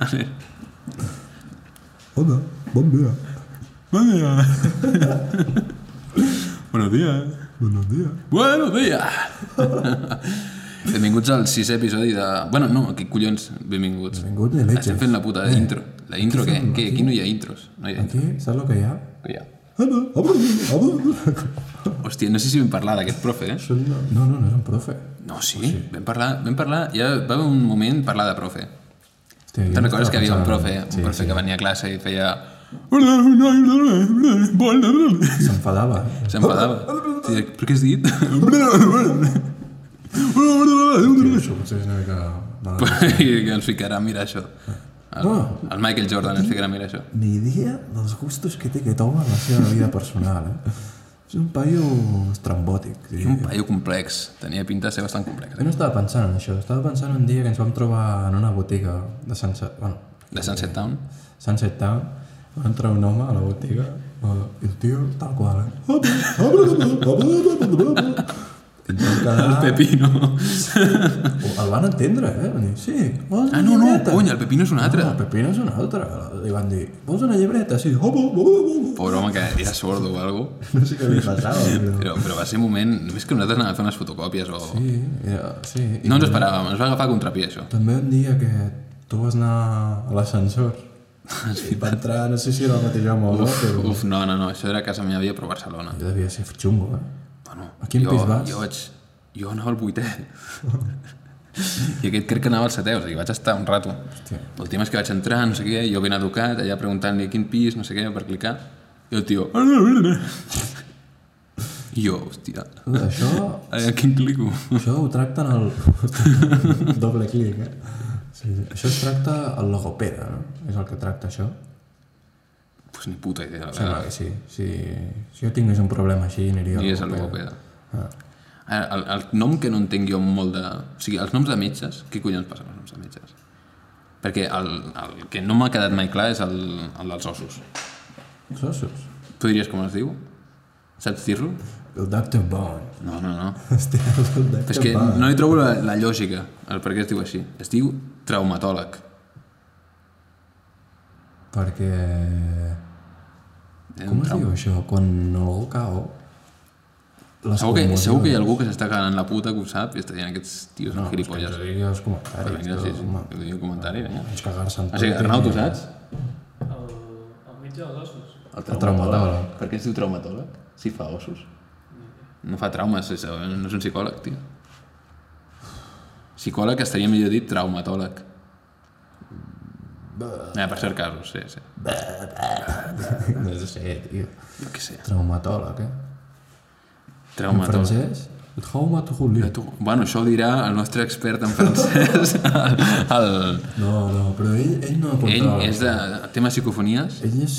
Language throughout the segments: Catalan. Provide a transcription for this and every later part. A ver. Hola, buen día. Buenos días. Buenos días. Buenos días. Buenos dies! Benvinguts al sisè episodi de... Bueno, no, que collons, benvinguts. Benvingut ni leches. Estem fent la puta Eh, intro. La intro, què? fem Què? aquí? Aquí no hi ha intros. No hi ha intro. Aquí, ¿sabes lo que hay? Hi ha. Hola, habla, habla. Hòstia, no sé si vam parlar d'aquest profe, eh? Soy una- No, no, no era un profe. No, sí, vam parlar, vam parlar, ja va haver un moment parlar de profe. Hostia, yo Te'n no recordes que hi havia un estava profe, un pensant- profe que venia a classe i feia... S'enfadava. Sí, se enfadaba. Sí, però què has dit? Això potser és una mica... mala- I que ens ficarà a mirar això. El, No. el Michael Ah, Jordan ens ficarà a mirar això. Ni idea dels gustos que té que toma en la seva vida personal, eh? És un paio estrambòtic. Sí. Un paio complex, tenia pinta de ser bastant complex. Jo no estava pensant en això, estava pensant un dia que ens vam trobar en una botiga de Sunset... Bueno, eh? De Sunset Town. Sunset Town, va entrar un home a la botiga eh, i el tio, tal qual, eh? Et van El quedar... Pepino. El van entendre, eh? Van dir, sí, vols una Ah, no, no, llibreta? cony, el Pepino és un altre. No, el Pepino és un altre. Li van dir, vols una llibreta? Sí, hop, hop, hop, hop. Pobre home que era sordo o alguna cosa. No sé què li passava, però... Però, però va ser un moment... Només que nosaltres anàvem a fer unes fotocòpies o... Sí, era, sí. I No ens esperàvem, ens va agafar a contrapié, això. També un dia que tu vas anar a l'ascensor i va entrar, no sé si era el mateix home o no, però... Uf, no, no, no, això era a casa meva, però a Barcelona. Jo devia ser xungo, eh? Bueno, A quin jo, pis vas? Jo, vaig, jo anava al vuitè. I aquest crec que anava al setè, o sigui, vaig estar un rato. Hòstia. El tema és que vaig entrar, no sé què, jo ben educat, allà preguntant-li quin pis, no sé què, per clicar. I el tio... I jo, hòstia, eh, Això a quin clico? Això ho tracten al... Doble clic, eh? Sí, sí. Això es tracta al logopeda, no? És el que tracta això. Pues ni puta idea, la Sembla veritat. que sí. Si, si jo tingués un problema així, aniria al I és el logopeda. logopeda. Ara, el, el nom que no entenc jo molt de... O sigui, els noms de metges, què collons passa amb els noms de metges? Perquè el, el que no m'ha quedat mai clar és el, el dels ossos. Els ossos. Tu diries com es diu? Saps dir-lo? El Dr. Bond. No, no, no. Hòstia, el Dr. Però és que Bond. no hi trobo la, la lògica, el per què es diu així. Es diu traumatòleg. Perquè... Eh, Com es diu això? Quan algú cau... Les Segur que, commocions- segur que hi ha algú que s'està cagant la puta que ho sap i està dient aquests tios Que no, ens gilipolles. ho digui als Però comentaris. vinga, sí, sí, home, que digui un comentari, vinga. Ens cagar-se en O sigui, Arnau, tu saps? El, el metge dels ossos. El traumatòleg. Per què es diu traumatòleg? Si fa ossos? No fa traumes, és, no és un psicòleg, tio. Psicòleg estaria millor dit traumatòleg. Eh, per cert casos, sí, sí. No sé, tio. Jo què sé. Traumatòleg, eh? En Traumatòleg. francès? Traumatologie. Tu, bueno, això ho dirà el nostre expert en francès. el, No, no, però ell, ell no el, ell controla. és de tema psicofonies, Ell és...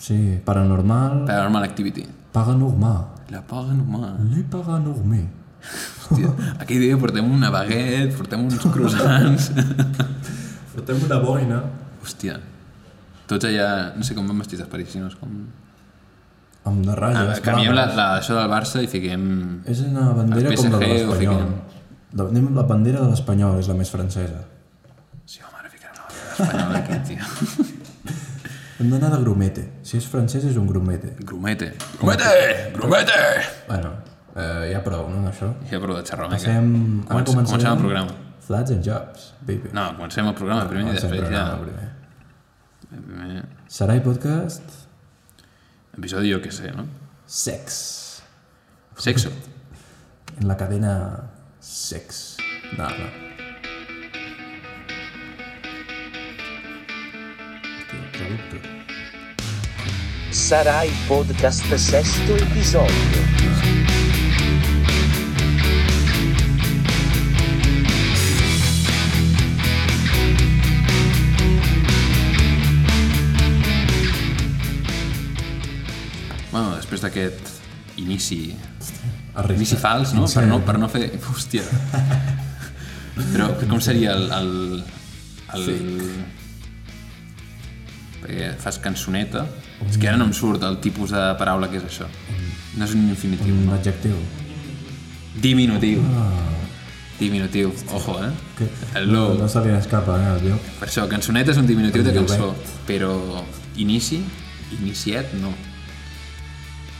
Sí, paranormal... paranormal activity. Paranormal. La paranormal. Le paranormal. Hòstia, aquell dia portem una baguette, portem uns croissants. Portem una boina. Hòstia. Tots allà, no sé com van vestits els parisinos, com... Ah, Amb de ratlles. Ah, blaves. canviem la, la, això del Barça i fiquem... És una bandera El com la de PSG ho l'Espanyol. fiquem. La, anem amb la bandera de l'Espanyol, és la més francesa. Sí, home, ara ficarem una bandera espanyola aquí, tio. Hem d'anar de grumete. Si és francès, és un grumete. Grumete. Grumete! Grumete! Bueno, eh, ja prou, no, d'això? Ja prou de xerrar una mica. Passem... Comencem, comencem el programa. Flats and Jobs, baby. No, comencem el programa primer i Comencem el després ja... programa primer. Primer Sarai Podcast, Episodi jo què sé, no? sex. Sexo. En la cadena sex. No, no. Hòstia, traductor. Sarai Podcast sesto episodio. Bueno, després d'aquest inici... Arriba. Inici fals, no? Per no, per no fer... Hòstia. Però com seria el... el, el... Perquè fas cançoneta. És que ara no em surt el tipus de paraula que és això. No és un infinitiu. Un adjectiu. Diminutiu. Diminutiu, ojo, eh? Que, El low. No se li escapa, eh, el llop. Per això, cançoneta és un diminutiu de Diu, cançó, però inici, iniciat, no.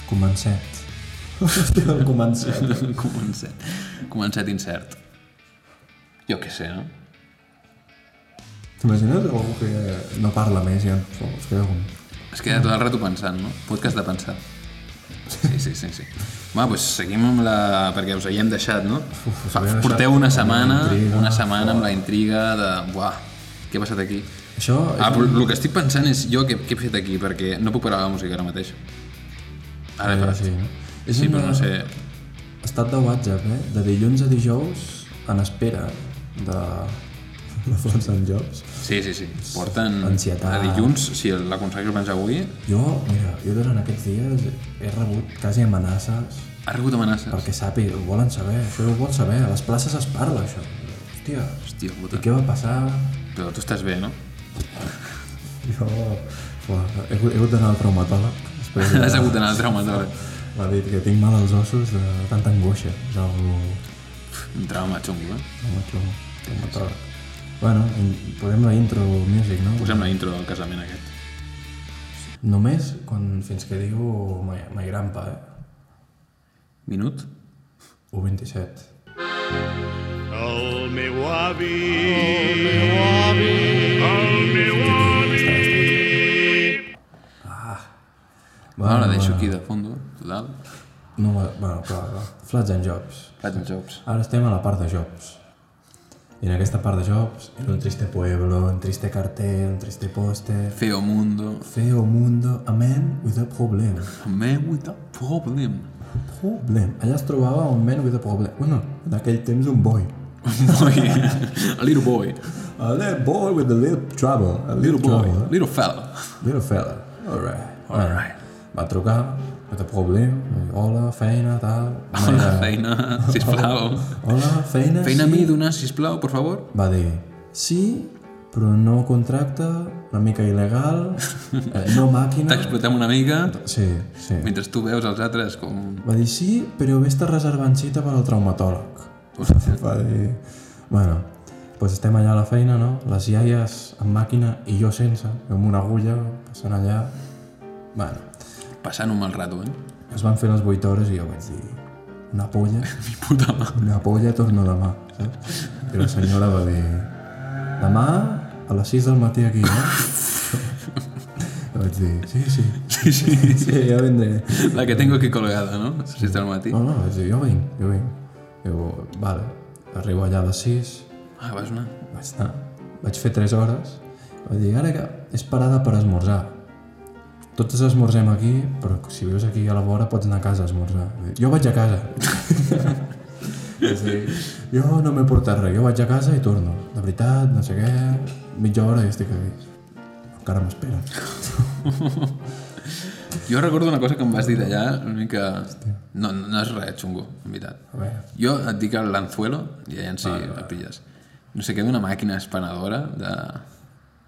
Comencet. Hòstia, el comencet. Començat. Començat incert. Jo què sé, no? T'imagines algú que no parla més i ja es queda com... Es queda tot el rato pensant, no? Podcast de pensar. Sí, sí, sí, sí. Va, doncs seguim amb la... perquè us havíem deixat, no? us Fa- havíem deixat Porteu amb una la setmana, intriga, una setmana amb la intriga de... Buah, què ha passat aquí? Això és Ah, però el que estic pensant és jo què, què he fet aquí, perquè no puc parar la música ara mateix. Ara he Ah, parat. sí, no? És Sí, un eh, però no sé... estat de WhatsApp, eh? De dilluns a dijous, en espera de... de Fons en Jobs. Sí, sí, sí. Porten Ansietat. a dilluns, si l'aconsegueixo penjar avui, Jo, mira, jo durant aquests dies he rebut quasi amenaces ha rebut amenaces. perquè sàpiga, ho volen saber, això ho vol saber, a les places es parla, això. Hòstia, Hòstia i puta. què va passar? Però tu estàs bé, no? Jo... Uah, he, hagut- he hagut d'anar al traumatòleg. Després de- Has hagut d'anar al traumatòleg. M'ha dit que tinc mal als ossos de tanta angoixa del Un trauma xungo, eh? del macho traumatòleg. Bueno, i posem la intro music, no? Posem la intro del casament aquest. Només quan, fins que diu my, my grandpa, eh? Minut? U27. El meu avi, el meu avi, el meu Ah. Bueno, la deixo aquí de fondo, total. No, bueno, clar, clar. Flats and Jobs. Faig els jocs. Ara estem a la part de Jobs. I en aquesta part de Jobs, en un triste pueblo, un triste cartel, un triste póster... Feo mundo. Feo mundo, a man with a problem. Man with a problem. Problem. Allà es trobava un man with a problem. Bueno, d'aquell temps un boy. Boy. a little boy. A little boy with a little trouble. A little, Little boy. trouble. Little fella. Little fella. Alright. Alright. Va trucar, with a problem. Hola, feina, tal. Hola, feina, sisplau. Hola, feina. Feina a sí. mi, donar, sisplau, por favor. Va dir, sí, però no contracte, una mica il·legal, eh, no màquina... T'explotem una mica, Sí, sí. mentre tu veus els altres com... Va dir, sí, però vés estar reservant cita per al traumatòleg. Va dir... Bueno, doncs estem allà a la feina, no? Les iaies amb màquina i jo sense, amb una agulla, passant allà... Bueno, Passant un mal rato, eh? es van fer les 8 hores i jo vaig dir... Una polla, Mi puta mà. una polla, torno demà, saps? I la senyora va dir... Demà a les 6 del matí aquí, no? I vaig dir, sí, sí, Sí, sí. sí, ja vendré. La que tengo aquí colgada, no? Si está al matí. No, no, vaig dir, jo vinc, jo vinc. Diu, vale, arribo allà a les 6, Ah, vas anar. Vaig anar, vaig fer 3 hores, vaig dir, ara que és parada per esmorzar. Tots esmorzem aquí, però si vius aquí a la vora pots anar a casa a esmorzar. Vull dir, Jo vaig a casa. És a dir, jo no m'he portat res, jo vaig a casa i torno. De veritat, no sé què, mitja hora i estic aquí. Encara m'espera. Jo recordo una cosa que em vas dir d'allà, una mica... No, no no és res xungo, en veritat. A veure, Jo et dic el lanzuelo, i allà en si el pilles. No sé què, d'una màquina espanadora de...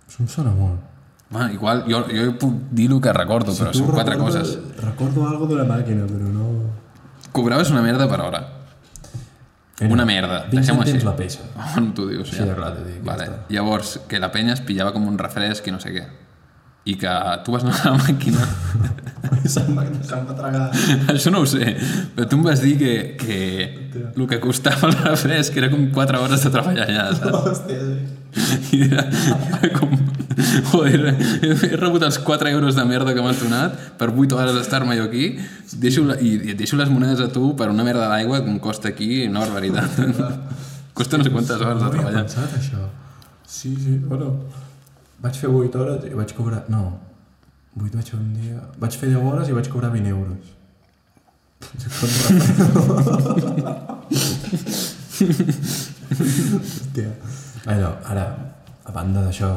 això em sona molt. Bueno, igual, jo, jo puc dir el que recordo, però Tu són quatre recorda- coses. Recordo algo de la màquina, però no... Cobraves una merda per hora. Era Una merda, 20 deixem-ho així. cèntims la peça. On tu dius, Sí, de clar, t'ho dic, ja vale. està. Llavors, que la penya es pillava com un refresc i no sé què. I que tu vas anar a la màquina... Se'm va, se'm va tragar. Això no ho sé, però tu em vas dir que, que el que costava el refresc era com 4 hores de treballar allà, saps? Hòstia, eh. sí. I era, era com... Joder, he, he rebut els 4 euros de merda que m'has donat per 8 hores d'estar-me jo aquí deixo la, i, i et deixo les monedes a tu per una merda d'aigua que em costa aquí una barbaritat. costa no sé quantes hores de No havia treballar. pensat, això. Sí, sí, bueno. Vaig fer 8 hores i vaig cobrar... No, 8 vaig fer un dia... Vaig fer 10 hores i vaig cobrar 20 euros. Hòstia. Bueno, ara, a banda d'això,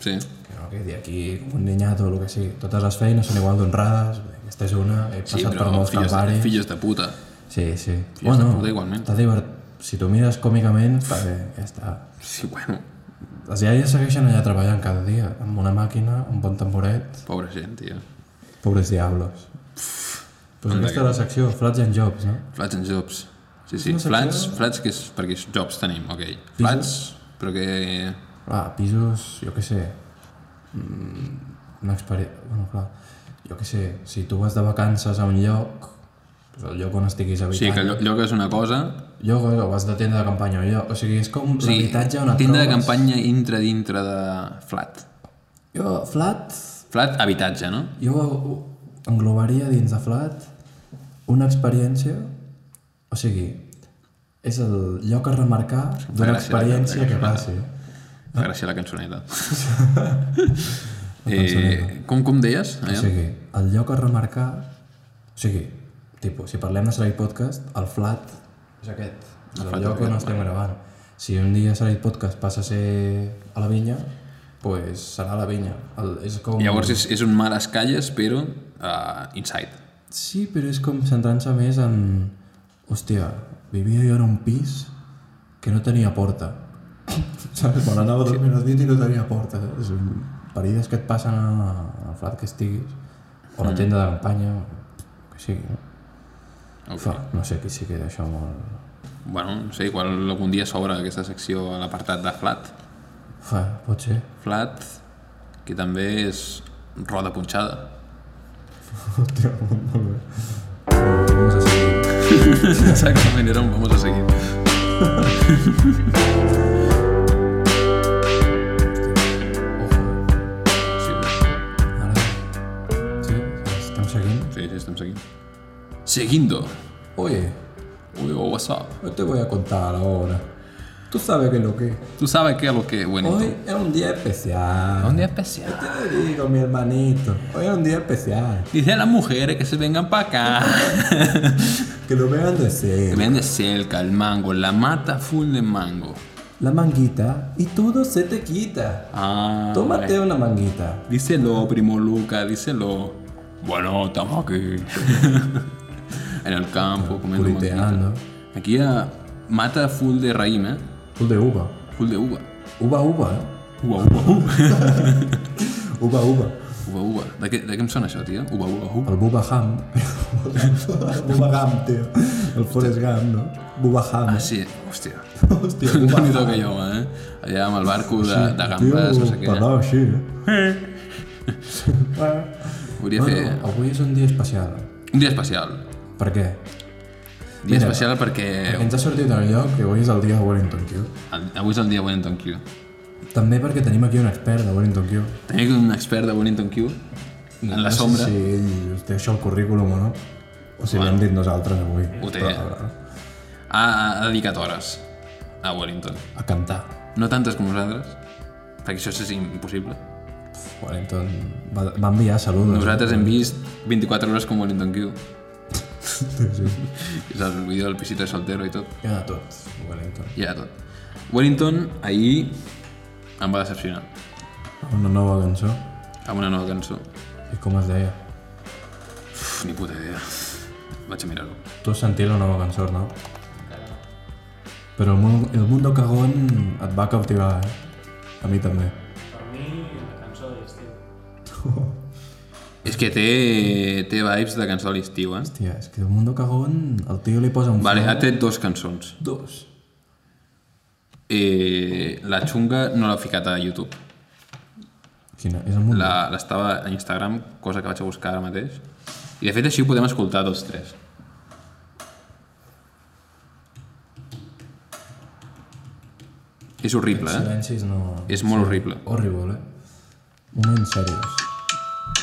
Sí. que no quedi aquí com un ninyato o el que sigui, totes les feines són igual d'honrades, aquesta és una, he Sí, passat per però molts filles, calvaris... filles de puta. Sí, sí. de puta igualment. T'ha divert... Si t'ho mires còmicament, perquè ja està. Sí, bueno, Les iaies segueixen allà treballant cada dia, amb una màquina, un bon tamboret, pobra gent, tio. pobres diablos. Doncs aquesta és la secció, Flats and Jobs, no? Flats and Jobs. Sí, sí. una secció- Flats, flats que és, perquè jobs tenim, ok. Flats, però que... Clar, pisos, jo què sé... mm, Una experiència... Bueno, clar, jo què sé, si tu vas de vacances a un lloc, doncs el lloc on estiguis O habitant... sigui, que lloc, lloc és una cosa... Lloc, o vas de tenda de campanya a un lloc, o sigui, és com O sigui, l'habitatge on et tenda de trobes. campanya intra dintre de flat. Jo, flat, Flat, habitatge, no? jo ho englobaria dins de flat una experiència, o sigui, és el lloc a remarcar d'una gràcia la experiència tenda, que que passi. Fa gràcia la cançoneta. eh, com, com deies? O Allò? sigui, el lloc a remarcar... O sigui, tipus, si parlem de Sarai Podcast, el flat és aquest. És el, flat lloc és on aquest, estem gravant. Si un dia Sarai Podcast passa a ser a la vinya, pues serà a la vinya. El, és com... Llavors és, és un mar a les calles, però uh, inside. Sí, però és com centrant-se més en... Hòstia, vivia jo en un pis que no tenia porta. Saps? Quan anava a dormir als nit i no tenia porta. És un... Perilles que et passen a- al flat que estiguis, o a la tenda de campanya, o el que sigui. No? Fa, Okay. no sé, aquí sí que deixa molt... Bueno, no sé, igual algun dia s'obre aquesta secció a l'apartat de flat. Fa, pot ser. Flat, que també és roda punxada. Hòstia, molt, molt bé. Bueno, vamos a seguir. Exactament, era un vamos a seguir. Ojo, Sí, ara... Sí, estem seguint. sí, sí estem seguint. Seguindo. Oye, Ui, oh, what's up? no te voy a contar ahora. Tú sabes que lo que... Tu sabes qué es lo que... Bueno, Hoy es un día especial. Un día especial. Te lo digo, mi hermanito. Hoy es un día especial. Dice a las mujeres que se vengan para acá. Que lo vean de Que ser. vean de cerca el mango, la mata full de mango. La manguita y todo se te quita. Ah, Tómate una manguita. Díselo, primo Luca, díselo. Bueno, estamos aquí. en el campo, comiendo Puriteando. manguita. Aquí a mata full de raïm, eh? Full de uva. Full de uva. Uva, uva, eh? Uva, uva, uva. Uva, uva. Uva, uva. De què, de què em sona això, tio? Uva, uva, uva. El Bubba Ham. Bubba Ham, tío. El Forrest Gump, ¿no? Bubba Ham. Ah, sí, hòstia. Hòstia, No n'hi toca jo, eh? Allà amb el barco de, de gambes, no sé què. Parlava així, eh? Hauria Bueno, de fer avui és un dia especial. un dia especial. Per què? Dia Mira. especial perquè Ens ha sortit del lloc que avui és el dia de Wellington Q. el- avui és el dia Wellington Q. També perquè tenim aquí un expert de Wellington Q. Tenia un expert de Wellington Q en la sombra. No sé si ell us té això al currículum o no. O si l'hem dit nosaltres avui. Ho té. Però, ha, ha dedicat hores a Wellington. A cantar. No tantes com nosaltres, perquè això és impossible. Wellington va, va enviar saludos. Nosaltres hem vist 24 hores com Wellington Q. Sí, sí. És el vídeo del pisito de soltero i tot. Hi ha de tot, Wellington. Hi ha de tot. Wellington ahir em va decepcionar Una nova cançó. amb una nova cançó. I com es deia? Uf, ni puta idea. Vaig a mirar-ho. Tu has sentit la nova cançó, no? Però el, món, el Mundo Cagón et va cautivar, eh? A mi també. Per mi, la cançó de l'estiu. És que té, té vibes de cançó a l'estiu, eh? Hòstia, és que el Mundo Cagón, el tio li posa un Vale, ha flow. tret dos cançons. Dos. Eh, la xunga no l'ha ficat a YouTube. Quina? És el Mundo? La- L'estava a Instagram, cosa que vaig a buscar ara mateix. I de fet així ho podem escoltar tots tres. És horrible, eh? Silencis no... És molt horrible. Horrible, eh? Moments serios.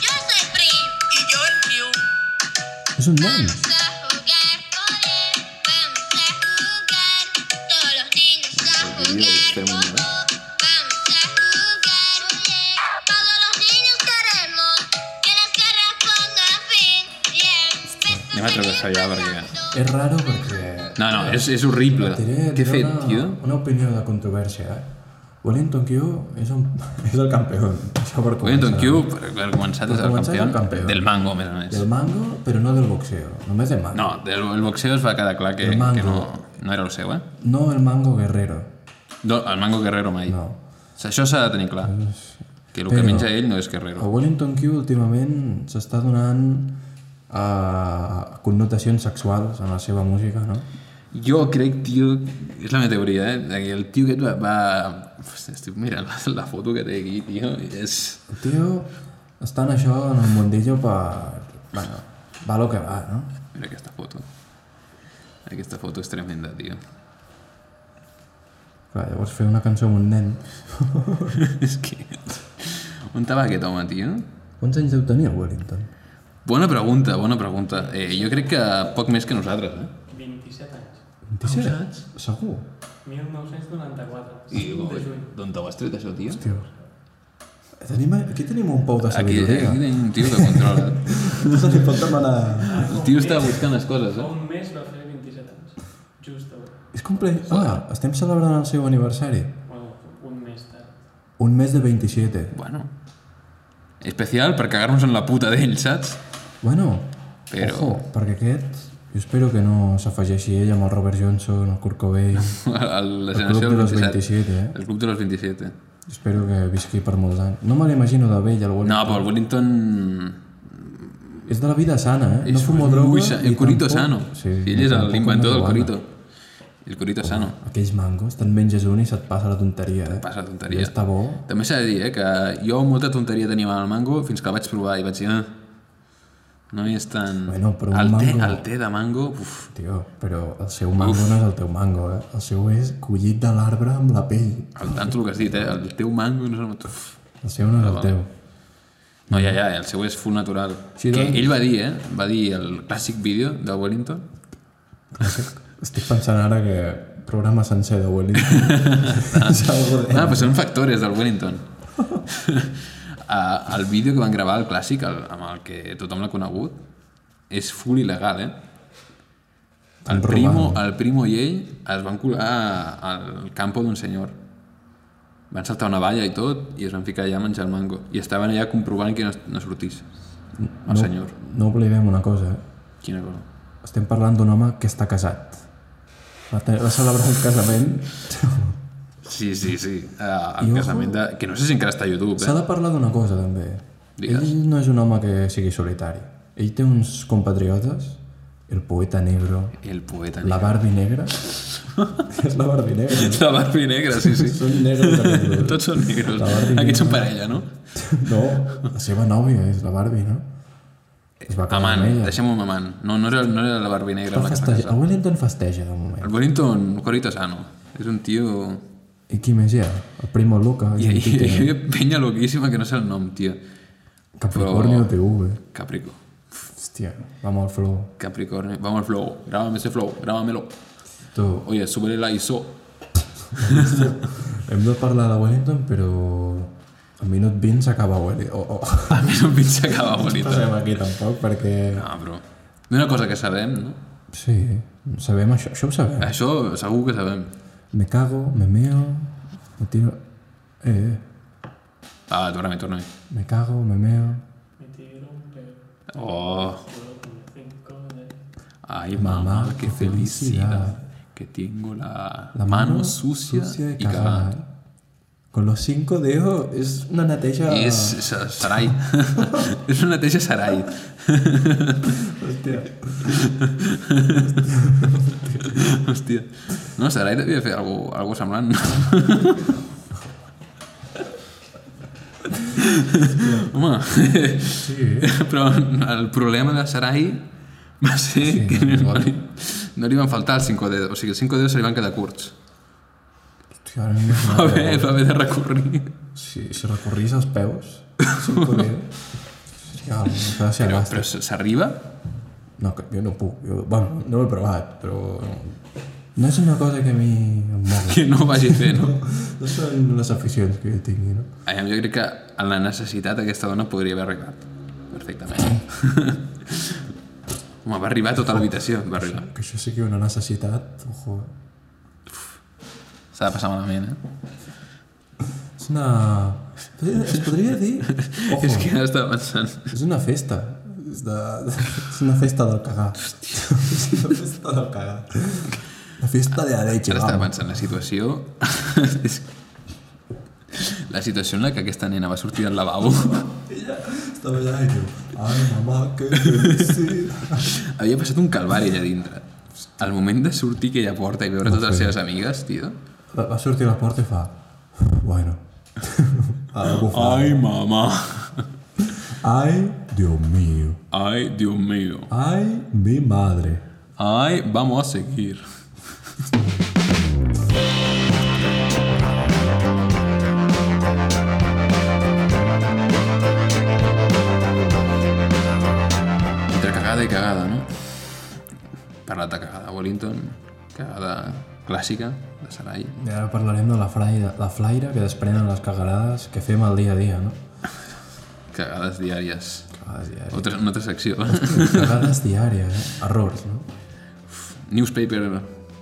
Yo soy Pri y yo el Q. És un nom! Vamos a jugar con él, vamos a jugar. Todos los niños a jugar Dios, qué con mundo, ¿eh? Vamos a jugar con él. Todos los niños queremos que las guerras pongan fin. Anem a travessar ja perquè... És raro perquè... No, no, és, és horrible. Diré, Què he diré fet, una, tio? Una opinió de controvèrsia, eh? Wellington Q és, un, és el campió. Això per Wellington començar. Q, per, per començar, és Per començar, és el el campió campeón. del mango, a més a més. Del mango, però no del boxeo. Només del mango. No, del, el boxeo es va quedar clar que, Del mango. que no, no era el seu, eh? No, el mango guerrero. No, el mango guerrero mai. No. Això s'ha de tenir clar. Que el que Però- menja ell no és guerrero. El Wellington Q últimament s'està donant eh, connotacions sexuals en la seva música, no? Jo crec, tio, és la meva teoria, eh? que El tio aquest va... va... Hòstia, estic mirant la, la foto que té aquí, tio, és... El tio està en això, en el mundillo, per... Bueno, va lo que va, no? Mira aquesta foto. Aquesta foto és tremenda, tio. Clar, llavors fer una cançó amb un nen. és que... On estava aquest home, tio? Quants anys deu tenir el Wellington? Bona pregunta, bona pregunta. Eh, jo crec que poc més que nosaltres, eh? 27 anys. 27? anys? Segur? 1994. I, 5 de juny. d'on te ho has tret, això, tio? Tio. Tenim, aquí tenim un pou de Aquí, aquí sabidoria. tenim un tio que controla. No se li pot demanar... El tio està buscant les coses, Fa eh? un mes va fer 27 anys. Just avui. És comple... Ah, estem celebrant el seu aniversari. Bueno, un mes tard. Un mes de 27. Bueno. Especial per cagar-nos en la puta d'ell, saps? Bueno, Però- ojo, perquè aquest... Jo espero que no s'afegeixi ell amb el Robert Johnson, el Kurt Cobain... El, la El generació club de los del 27, eh? El club de los 27. Jo espero que visqui per molts anys. No me l'imagino de vell, el Wellington. No, però el Wellington... És de la vida sana, eh? No és fumo muy droga... sa- i El corito sano. tampoc- Sí, Ell és tampoc l'inventor del marihuana. corito. El corito sano. Aquells mangos, te'n menges un i se't passa la tonteria, eh? Passa tonteria. Ja està bo. També s'ha de dir, eh, que jo molta tonteria tenia amb el mango fins que el vaig provar i vaig dir... Ah, no hi és tan... Bueno, però un el, té, mango- el té de mango... Uf, Tio, però el seu mango no és el teu mango, eh? El seu és collit de l'arbre amb la pell. el tanto el que has dit, eh? El teu mango... No, sé, uf. El seu no és el teu. no ja, ja, el seu és full natural. Sí, que doncs. ell va dir, eh? Va dir el clàssic vídeo de Wellington. Estic pensant ara que programa sencer de Wellington. És algo de... Ah, però són factores del Wellington. Ah, el vídeo que van gravar, el clàssic, el, amb el que tothom l'ha conegut, és full il·legal, eh? Estan El primo, robant. el primo i ell es van colar al campo d'un senyor. Van saltar una valla i tot, i es van ficar allà a menjar el mango. I estaven allà comprovant que no, no sortís el No. senyor. No oblidem una cosa, eh? Quina cosa. Estem parlant d'un home que està casat. Va, te- va celebrar un casament. Sí, sí, sí. Uh, el I ojo. casament de... Que no sé si encara està a YouTube, S'ha eh? de parlar d'una cosa, també. Digues. Ell no és un home que sigui solitari. Ell té uns compatriotes, el poeta negro, El poeta. la La, Barbie negra. és la Barbie negra. la Barbie negra, sí, sí. Són negres aquests dos. Tots són negros. La Barbie Aquests són negra. parella, no? No, la seva nòvia és la Barbie, no? Es Pues va casar Amant, amb ella. deixem-ho amb amant. No, no era, no era la Barbie negra Però la que es va festeja- casar. El Wellington festeja, de moment. El Wellington Corito Sano. És un tio... I qui més hi ha? El Primo Luca, I, i, i, Argentina, i penya loquíssima que no sé el nom, tio. Capricornio TV. Caprico. Hòstia, va molt flow. Capricornio. Vamos al flow. Grábame ese flow. Grábamelo. Tu, Oye, súbele la ISO. hem de parlar de Wellington, però... Al minut 20 s'acaba Wellington. Oh, oh. A mi no em pinça que va bonito. No sabem aquí tampoc, perquè... No, però... Una cosa que sabem, no? Sí, sabem això, això ho sabem. Això segur que sabem. Me cago, me meo, me tiro... Eh, eh, Ah, torna-hi, torna-hi. me cago, me meo... Me tiro un pedo. Oh, Todo con 5 de... ay mamá, Mamá, qué qué felicidad. felicidad. Que tengo la, mano sucia, e y cagada. Con los cinco dedos es una neteja... I és, és a E Sarai. és una neteja Sarai. Hòstia. Hòstia. No, Sarai devia fer algo, algo semblant. Home, Sí, però el problema de Sarai va ser sí, que no, li, no li van faltar els 5 dedos, o sigui, els 5 dedos se li van quedar curts. hòstia, ara m'he Va donat. haver, va haver de recórrer. Si, si recorrís els peus, si ho podria... Hòstia, m'ha de ser Però, agasta. però s- s'arriba? No, que jo no puc. Jo, bueno, no ho he provat, però... No és una cosa que a mi em mogui. Que no ho vagi fer, no? No són les aficions que jo tingui, no? Aviam, jo crec que en la necessitat aquesta dona podria haver arribat. Perfectament. Home, va arribar a tota l'habitació, va arribar. Que això sí que una necessitat, ojo. S'ha de passar malament, eh? És una... Es podria dir... Ojo, És que ara estava pensant... és una festa. És, de... és una festa del cagar. És una festa del cagar. La festa de la leche, Ara estava vamos. pensant la situació... És- la situació en la que aquesta nena va sortir del lavabo Estava allà i diu, ai, mamà, que felicidad. havia passat un calvari allà dintre. Al moment de sortir aquella porta i veure totes les seves amigues, tio... Va, va sortir a la porta i fa... Bueno. A bufar. Ai, mama! Ay, Dios mío. Ai, Dios mío! Ay, mi madre. Ai, vamos a seguir! Entre cagada i cagada, no? Parlat de cagada Wellington, cagada clàssica de Sarai. I ara parlarem de la flaire, la flaire que desprenen les cagarades que fem al dia a dia, no? Cagades diàries. Cagades diàries. Otra, una altra secció. Cagades diàries, eh? Errors, no? Newspaper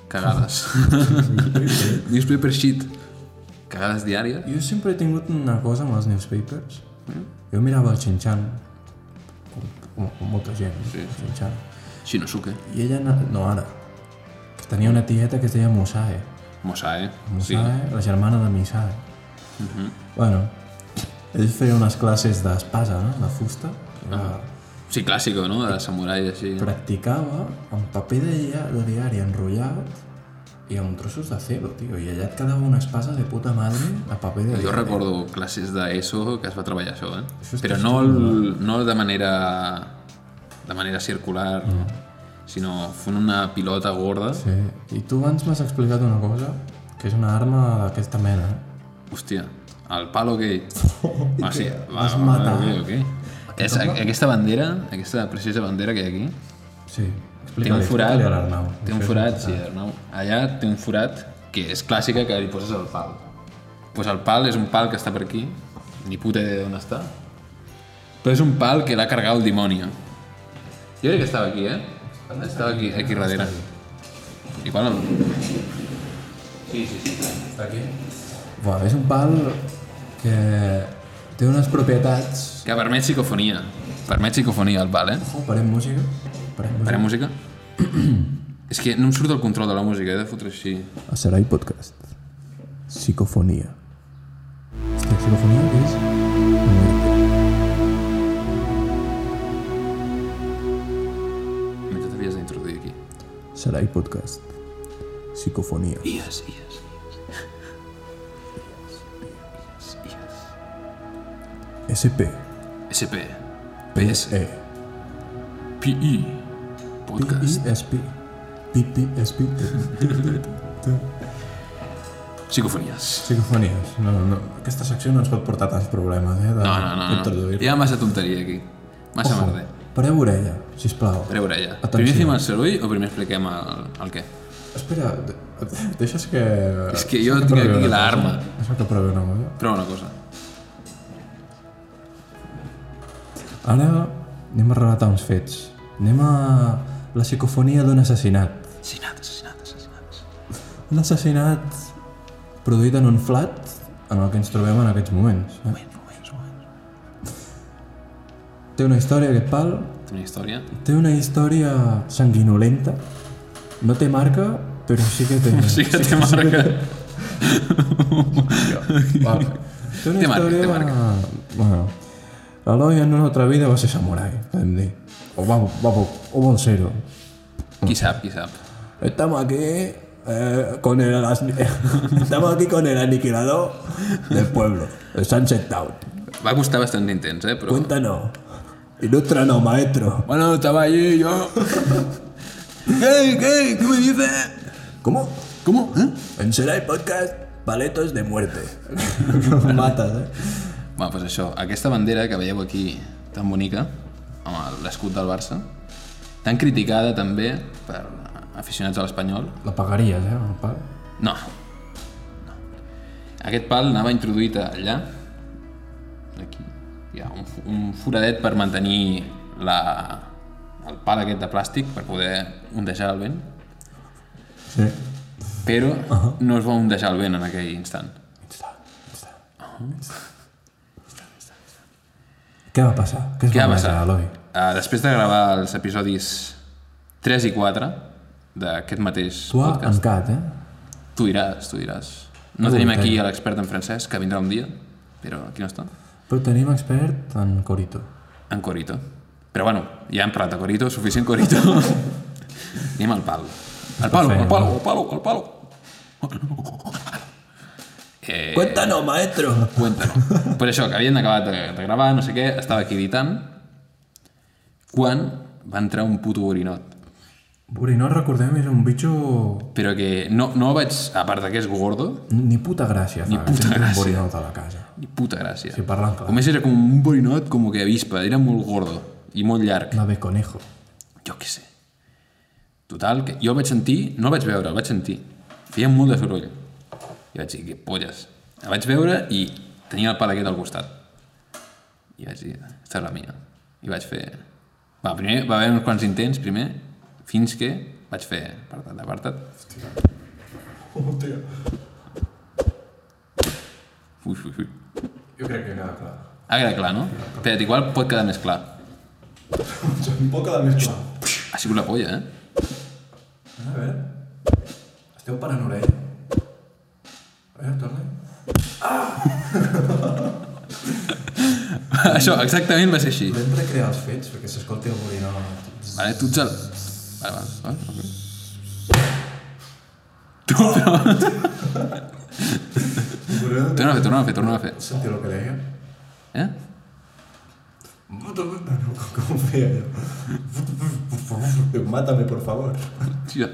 cagades. Newspaper shit. Cagades diàries. Jo sempre he tingut una cosa amb els newspapers. Jo mirava el Xinxan, com, com, com molta gent, sí. Xinxan. Shinosuke. I ella, na- no ara, que tenia una tieta que es deia Musae. Mosae. Sí. Musae, la germana de Misae. Bueno, ells feien unes classes d'espasa, no? de fusta. Ah, i la- Sí, clàssico, no? De samurai, així. Practicava amb paper de, dia, de diari enrotllat i amb trossos de cebo, tio. I allà et quedava una espasa de puta madre a paper de Jo diari. recordo classes d'ESO que es va treballar això, eh? és Però no, el, no de manera de manera circular, sinó fent una pilota gorda. Sí, i tu abans m'has explicat una cosa, que és una arma d'aquesta mena. Hòstia, el palo gay. Ah, sí, va, Vas va, va, matar. ok, ok. És, a- aquesta bandera, aquesta preciosa bandera que hi ha aquí, Sí, té un explica-li, forat, explica-li a l'Arnau. té un Això és forat, sí, important. Arnau. Allà té un forat que és clàssica que li poses el pal. Pues el pal és un pal que està per aquí, ni puta idea d'on està. Però és un pal que l'ha carregat el dimoni. eh? Jo crec que estava aquí, eh? Estava aquí, aquí darrere. Igual... el- Sí, sí, sí. Està aquí. Buah, és un pal que té unes propietats... Que permet psicofonia. Permet psicofonia el pal, eh? Oh, parem música. Parem música. Farem música? és que no em surt el control de la música, he de fotre així. A Sarai Podcast. Psicofonia. Hòstia, psicofonia és... muerte. Mentre t'havies d'introduir aquí. Sarai Podcast. Psicofonia. Ies, ies. SP. SP. PS. E. PI. E. Podcast. PISP. PISP. Psicofonies. Psicofonies. No, no, aquesta secció no ens pot portar tants problemes, eh? De, No, no, no. no. d'introduir-la. Hi ha massa tonteria aquí. Massa Ojo, merder. Pareu orella, sisplau. Però orella. Oh. Atenció. Primer fem el soroll o primer expliquem el, el què? Espera, de- deixes que... És que jo deixa tinc provi aquí una l'arma. cosa. Deixa que provi una cosa. Però una cosa. Ara anem a relatar uns fets. Anem a la psicofonia d'un assassinat. Assassinat, assassinat, assassinat. Un assassinat produït en un flat en el que ens trobem en aquests moments. Eh? Té una història aquest pal, Té una història. té una història sanguinolenta, no té marca, però sí que té... Sí que té marca. Vale. Té una Té marca, història... té Bueno, l'Eloi en una altra vida va ser samurai, podem dir. O va, va, o vol ser-ho. Qui sap, qui sap. Estamos aquí eh, con el as- estamos aquí con el aniquilador del pueblo, el Sunset Town. Va costar bastant intens, eh? Però... Cuéntanos, ilústranos, maestro. Bueno, estaba allí yo. ¿Qué? ¿Qué? ¿Qué me dices? ¿Cómo? ¿Cómo? ¿Eh? En Serai Podcast, paletos de muerte. Matas, eh? Bueno, pues doncs això, aquesta bandera que veieu aquí, tan bonica, amb el- l'escut del Barça, tan criticada també per aficionats a l'Espanyol. La pagaries, eh, el pal? No. no. Aquest pal anava introduït allà. Aquí. Hi ha un, fo- un foradet per mantenir la, el pal aquest de plàstic per poder ondejar el vent. Sí. Però no es va ondejar el vent en aquell instant. Què va passar? es Què va va passar? passar, Eloi? Uh, després de gravar els episodis 3 i 4 d'aquest mateix Tu ha podcast, encat, eh? tu diràs, tu diràs. No tenim aquí a l'expert en francès, que vindrà un dia, però aquí no està, Però tenim expert en Corito. en Corito. Però bueno, ja hem parlat de Corito, suficient Corito. Anem al pal. Al palo, Perfecte. al palo, al palo, al palo. Eh, Cuéntanos, maestro. Cuéntanos. Per això, que havien acabat de, de gravar, no sé què, estava aquí editant, quan va entrar un puto orinot. Uri, no recordem, era un bitxo... Però que no, no vaig, a part de que és gordo, Ni puta gràcia, fa. Ni puta gràcia. un borinot a la casa. ni puta gràcia. Si parlen clar. A més era com un borinot com que avispa, era molt gordo i molt llarg. Una de conejo. Jo què sé. Total, que jo el vaig sentir, no el vaig veure, el vaig sentir. Feia molt de soroll. I vaig dir, que polles. El vaig veure i tenia el pal aquest al costat. I vaig dir, esta és la mia. I vaig fer... Va, primer va haver uns quants intents, primer, fins que vaig fer apartat, apartat. Hòstia. Ui, ui, ui. Jo crec que queda clar. Ha quedat clar, no? Espera't, igual pot quedar més clar. Un poc de més clar. Ha sigut la polla, eh? A veure... Esteu parant orella? A veure, torna. Això, exactament va ser així. Podem recrear els fets perquè s'escolti el borinot. Vale, tu ets el... Vale, vale, vale. ok. Tu, però... El borinot... Torna a fer, torna a fer, torna a fer. Sentiu el que deia? Eh? No, com ho feia allò? Diu, mátame, por favor. Tio.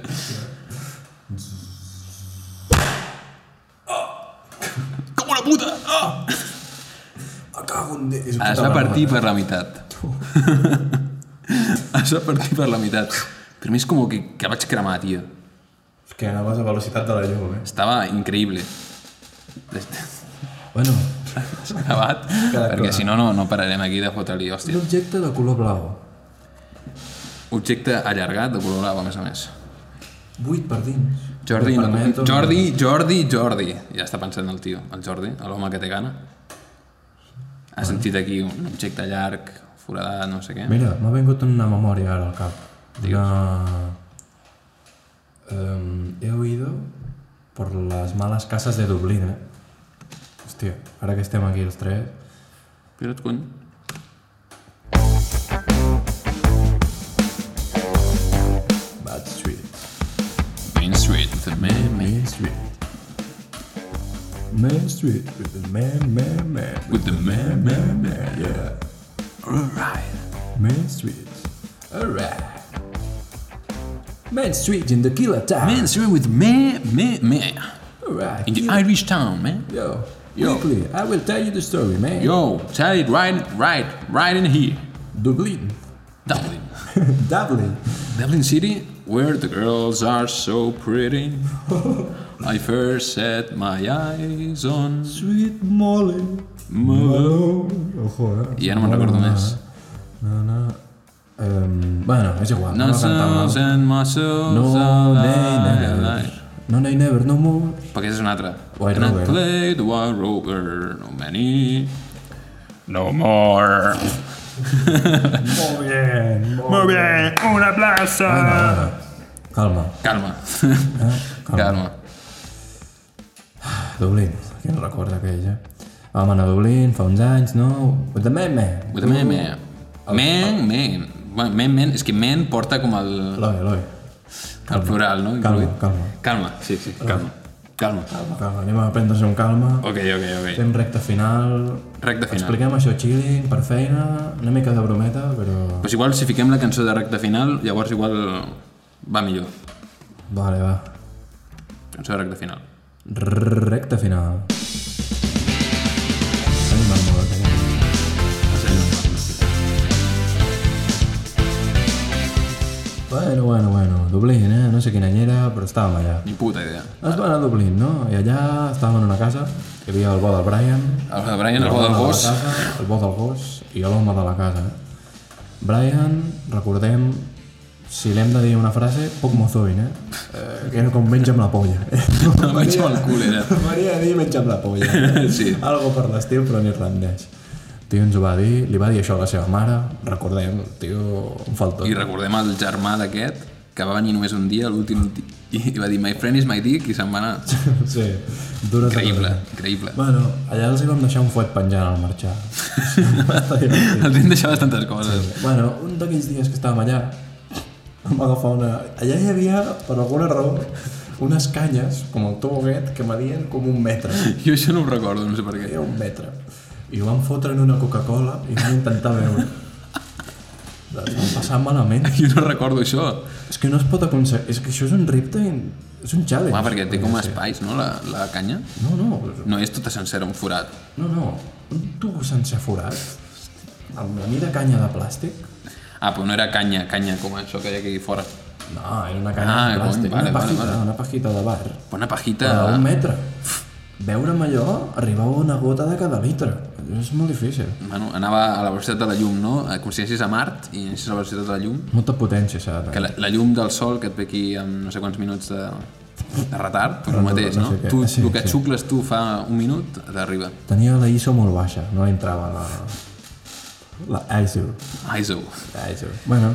Com una puta! Ah! Acago Ah, en... Déu. És un Es puta va partir merda. per la meitat. es va partir per la meitat. Per mi és com que, que vaig cremar, tio. És que anaves a velocitat de la llum, eh? Estava increïble. Bueno, S'ha acabat, Queda perquè clar. si no, no, no pararem aquí de fotre-li, hòstia. un objecte de color blau. Objecte allargat de color blau, a més a més. Buit per dins. Jordi, Per no, permeto- Jordi, Jordi, Jordi. Ja està pensant el tio, el Jordi, l'home que té gana. Ha sentit aquí un objecte llarg, foradat, no sé què. Mira, m'ha vingut una memòria ara al cap. Una... Em, he oído por las malas casas de Dublín, eh? Hòstia, ara que estem aquí els tres... Espera't, cony. Ah, Bad Street. Main Street, with the man, man, Main Street. Main Street with the man, man, man. with the man. Man, man, man, yeah. Alright. Main Street. Alright. Main Street in the killer town. Main Street with man, man, man. Alright. In the killer- Irish town, man. Yo, Yo. quickly, I will tell you the story, man. Yo, tell it right, right, right in here. Dublin. Dublin. Dublin. Dublin City, where the girls are so pretty. I first set my eyes on... Sweet Molly. Oh, Malo. Ojo, eh? I ja no me'n recordo més. No, no. Um, bueno, és igual. No, No, no, no, sounds and muscles no, are nay, never. alive. No, nay, never, no more. Perquè és una altra. White And I Rover. played White Rover, no many, no more. Molt bé, Muy bien, un aplauso. Calma, Calma, Ah, calma. calma. Dublín, qui no recorda aquell, eh? Vam anar a Dublín fa uns anys, no? With the man, man. With a man, man. Oh. Man, man. Bueno, Man, man, és que man porta com el, Eloi, Eloi. el plural, no? Calma, Incluït. calma. Ah. Calma, sí, sí, calma. Calma. Calma, anem a prendre's un calma. Ok, ok, ok. Fem recta final. Recte final. Expliquem això chilling, per feina, una mica de brometa, però... Pues igual si fiquem la cançó de recte final, llavors igual va millor. Vale, va. Cançó de recte final. Recta final. S'ha animat molt, eh? Bueno, bueno, bueno, Dublín, eh? No sé quina any era, però estàvem allà. Ni puta idea. Es va anar a Dublín, no? I allà estàvem en una casa, hi havia el bo del Brian, El de Brian, el bo l'home de del la gos. casa, El bo del gos i l'home de la casa. Brian, recordem, si l'hem de dir una frase, poc mozoin, eh? eh que era com menja amb la polla. Em vaig amb el cul, era. M'agradaria dir menja amb la polla. Sí. Algo per l'estil, però en irlandès. Tio ens ho va dir, li va dir això a la seva mare, recordem, tio, un faltó. I recordem el germà d'aquest, que va venir només un dia, l'últim di- i va dir my friend is my dick i se'n va anar. Sí, dures de Increïble, veure. increïble. Bueno, allà els hi vam deixar un fuet penjant al marxar. Va estar divertit. Els hem deixat bastantes coses. Bueno, un d'aquells dies que estàvem allà, va agafar una... Allà hi havia, per alguna raó, unes canyes, com el toboguet, que medien com un metre. Jo això no ho recordo, no sé per què. Era un metre. I ho van fotre en una Coca-Cola i van intentar veure. Les van passar malament. Jo no recordo això. És que no es pot aconseguir... És que això és un repte... in- És un challenge. Home, perquè té com podria ser. espais, no, la, la canya? No, no, No és tota sencera un forat. no, no. Un tubo sense forat, amb la mida canya de plàstic, Ah, però no era canya, canya, com això que hi ha aquí fora. no, era una canya Ah, de plàstic, cony, vale, una vale, pajita, vale. una pajita de bar. Però Una pajita... Però a un metre. Veure'm allò, arribava una gota de cada litre. Allò és molt difícil. Bueno, anava a la velocitat de la llum, no? Eh, Com si anessis a Mart i anessis a la velocitat de la llum. Molta potència s'ha de Que tenir. la, la llum del sol que et ve aquí amb no sé quants minuts de, de retard, doncs el Però no- mateix, no no? sé què. Ah, tu, Sí, el que sí. xucles tu fa un minut, t'arriba. Tenia la ISO molt baixa, no entrava la... La ISO. ISO. La ISO. Bueno,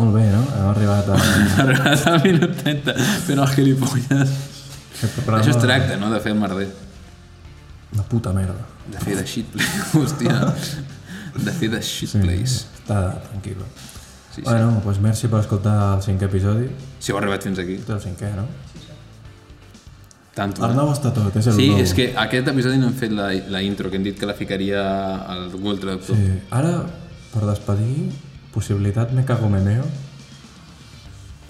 molt bé, no? Hem arribat a... Arribes al minut 30 fent el gilipolles. aquest Però programa. Això es tracta, no?, de fer el merder. Una puta merda. De fer de shit place, hòstia. De fer de shit Sí, place. Està tranquil. Sí, sí. Bueno, doncs merci per escoltar el cinquè episodi. Si heu arribat fins aquí, Este és el cinquè, no? tanto. eh? L'Arnau està tot, és el Sí, nou. és que aquest episodi no hem fet la, la intro, que hem dit que la ficaria al Google Traductor. Sí. Ara, per despedir, possibilitat me cago me meo.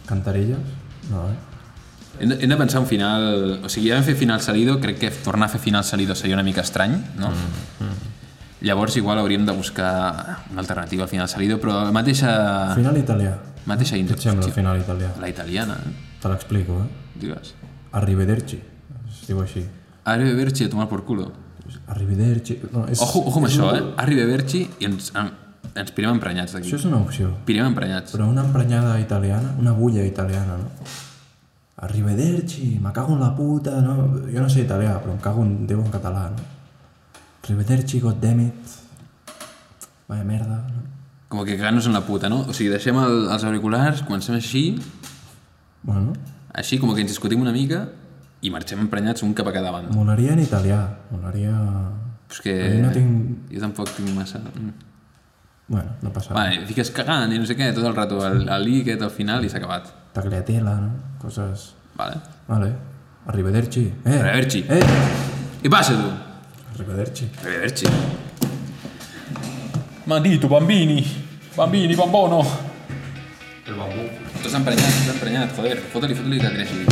Cantarelles? No, eh? Hem de, hem de pensar un final... O sigui, ja vam fer final salido, crec que tornar a fer final salido seria una mica estrany, no? Mm, Llavors, igual hauríem de buscar una alternativa al final salido, però la mateixa, Final italià. mateixa Què intro. et sembla el Ah. Hòstia, final italià? la italiana, eh? Te l'explico, eh? digues. Arrivederci. Es diu així. Arrivederci a tomar por culo. Arrivederci. No, és, Ojo, ojo amb és això, una- eh? Arrivederci i ens, em- ens pirem emprenyats d'aquí. Això és una opció. Pirem emprenyats. Però una emprenyada italiana, una bulla italiana, no? Arrivederci, me cago en la puta, no? Jo no sé italià, però em cago en Déu en català, no? Arrivederci, goddammit. Vaya merda, no? Com que cagar-nos en la puta, no? O sigui, deixem el, els auriculars, comencem així, Bueno, així com que ens discutim una mica i marxem emprenyats un cap a cada banda. molaria en italià, molaria... Pues que... Jo no tinc... Jo tampoc tinc massa... Mm. Bueno, no passa res. Vale, fiques cagant i no sé què, tot el rato, el, el i aquest al final i s'ha acabat. Tagliatella, no? Coses... Vale. Vale. Arrivederci. Eh! Arrivederci. Eh! I passa, tu! Arrivederci. Arrivederci. Maldito, bambini! Bambini, bambono! El bambú. T'has emprenyat, t'has emprenyat, joder. Fota-li, fota-li que creixi.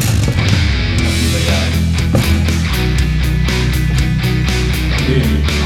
Bambini.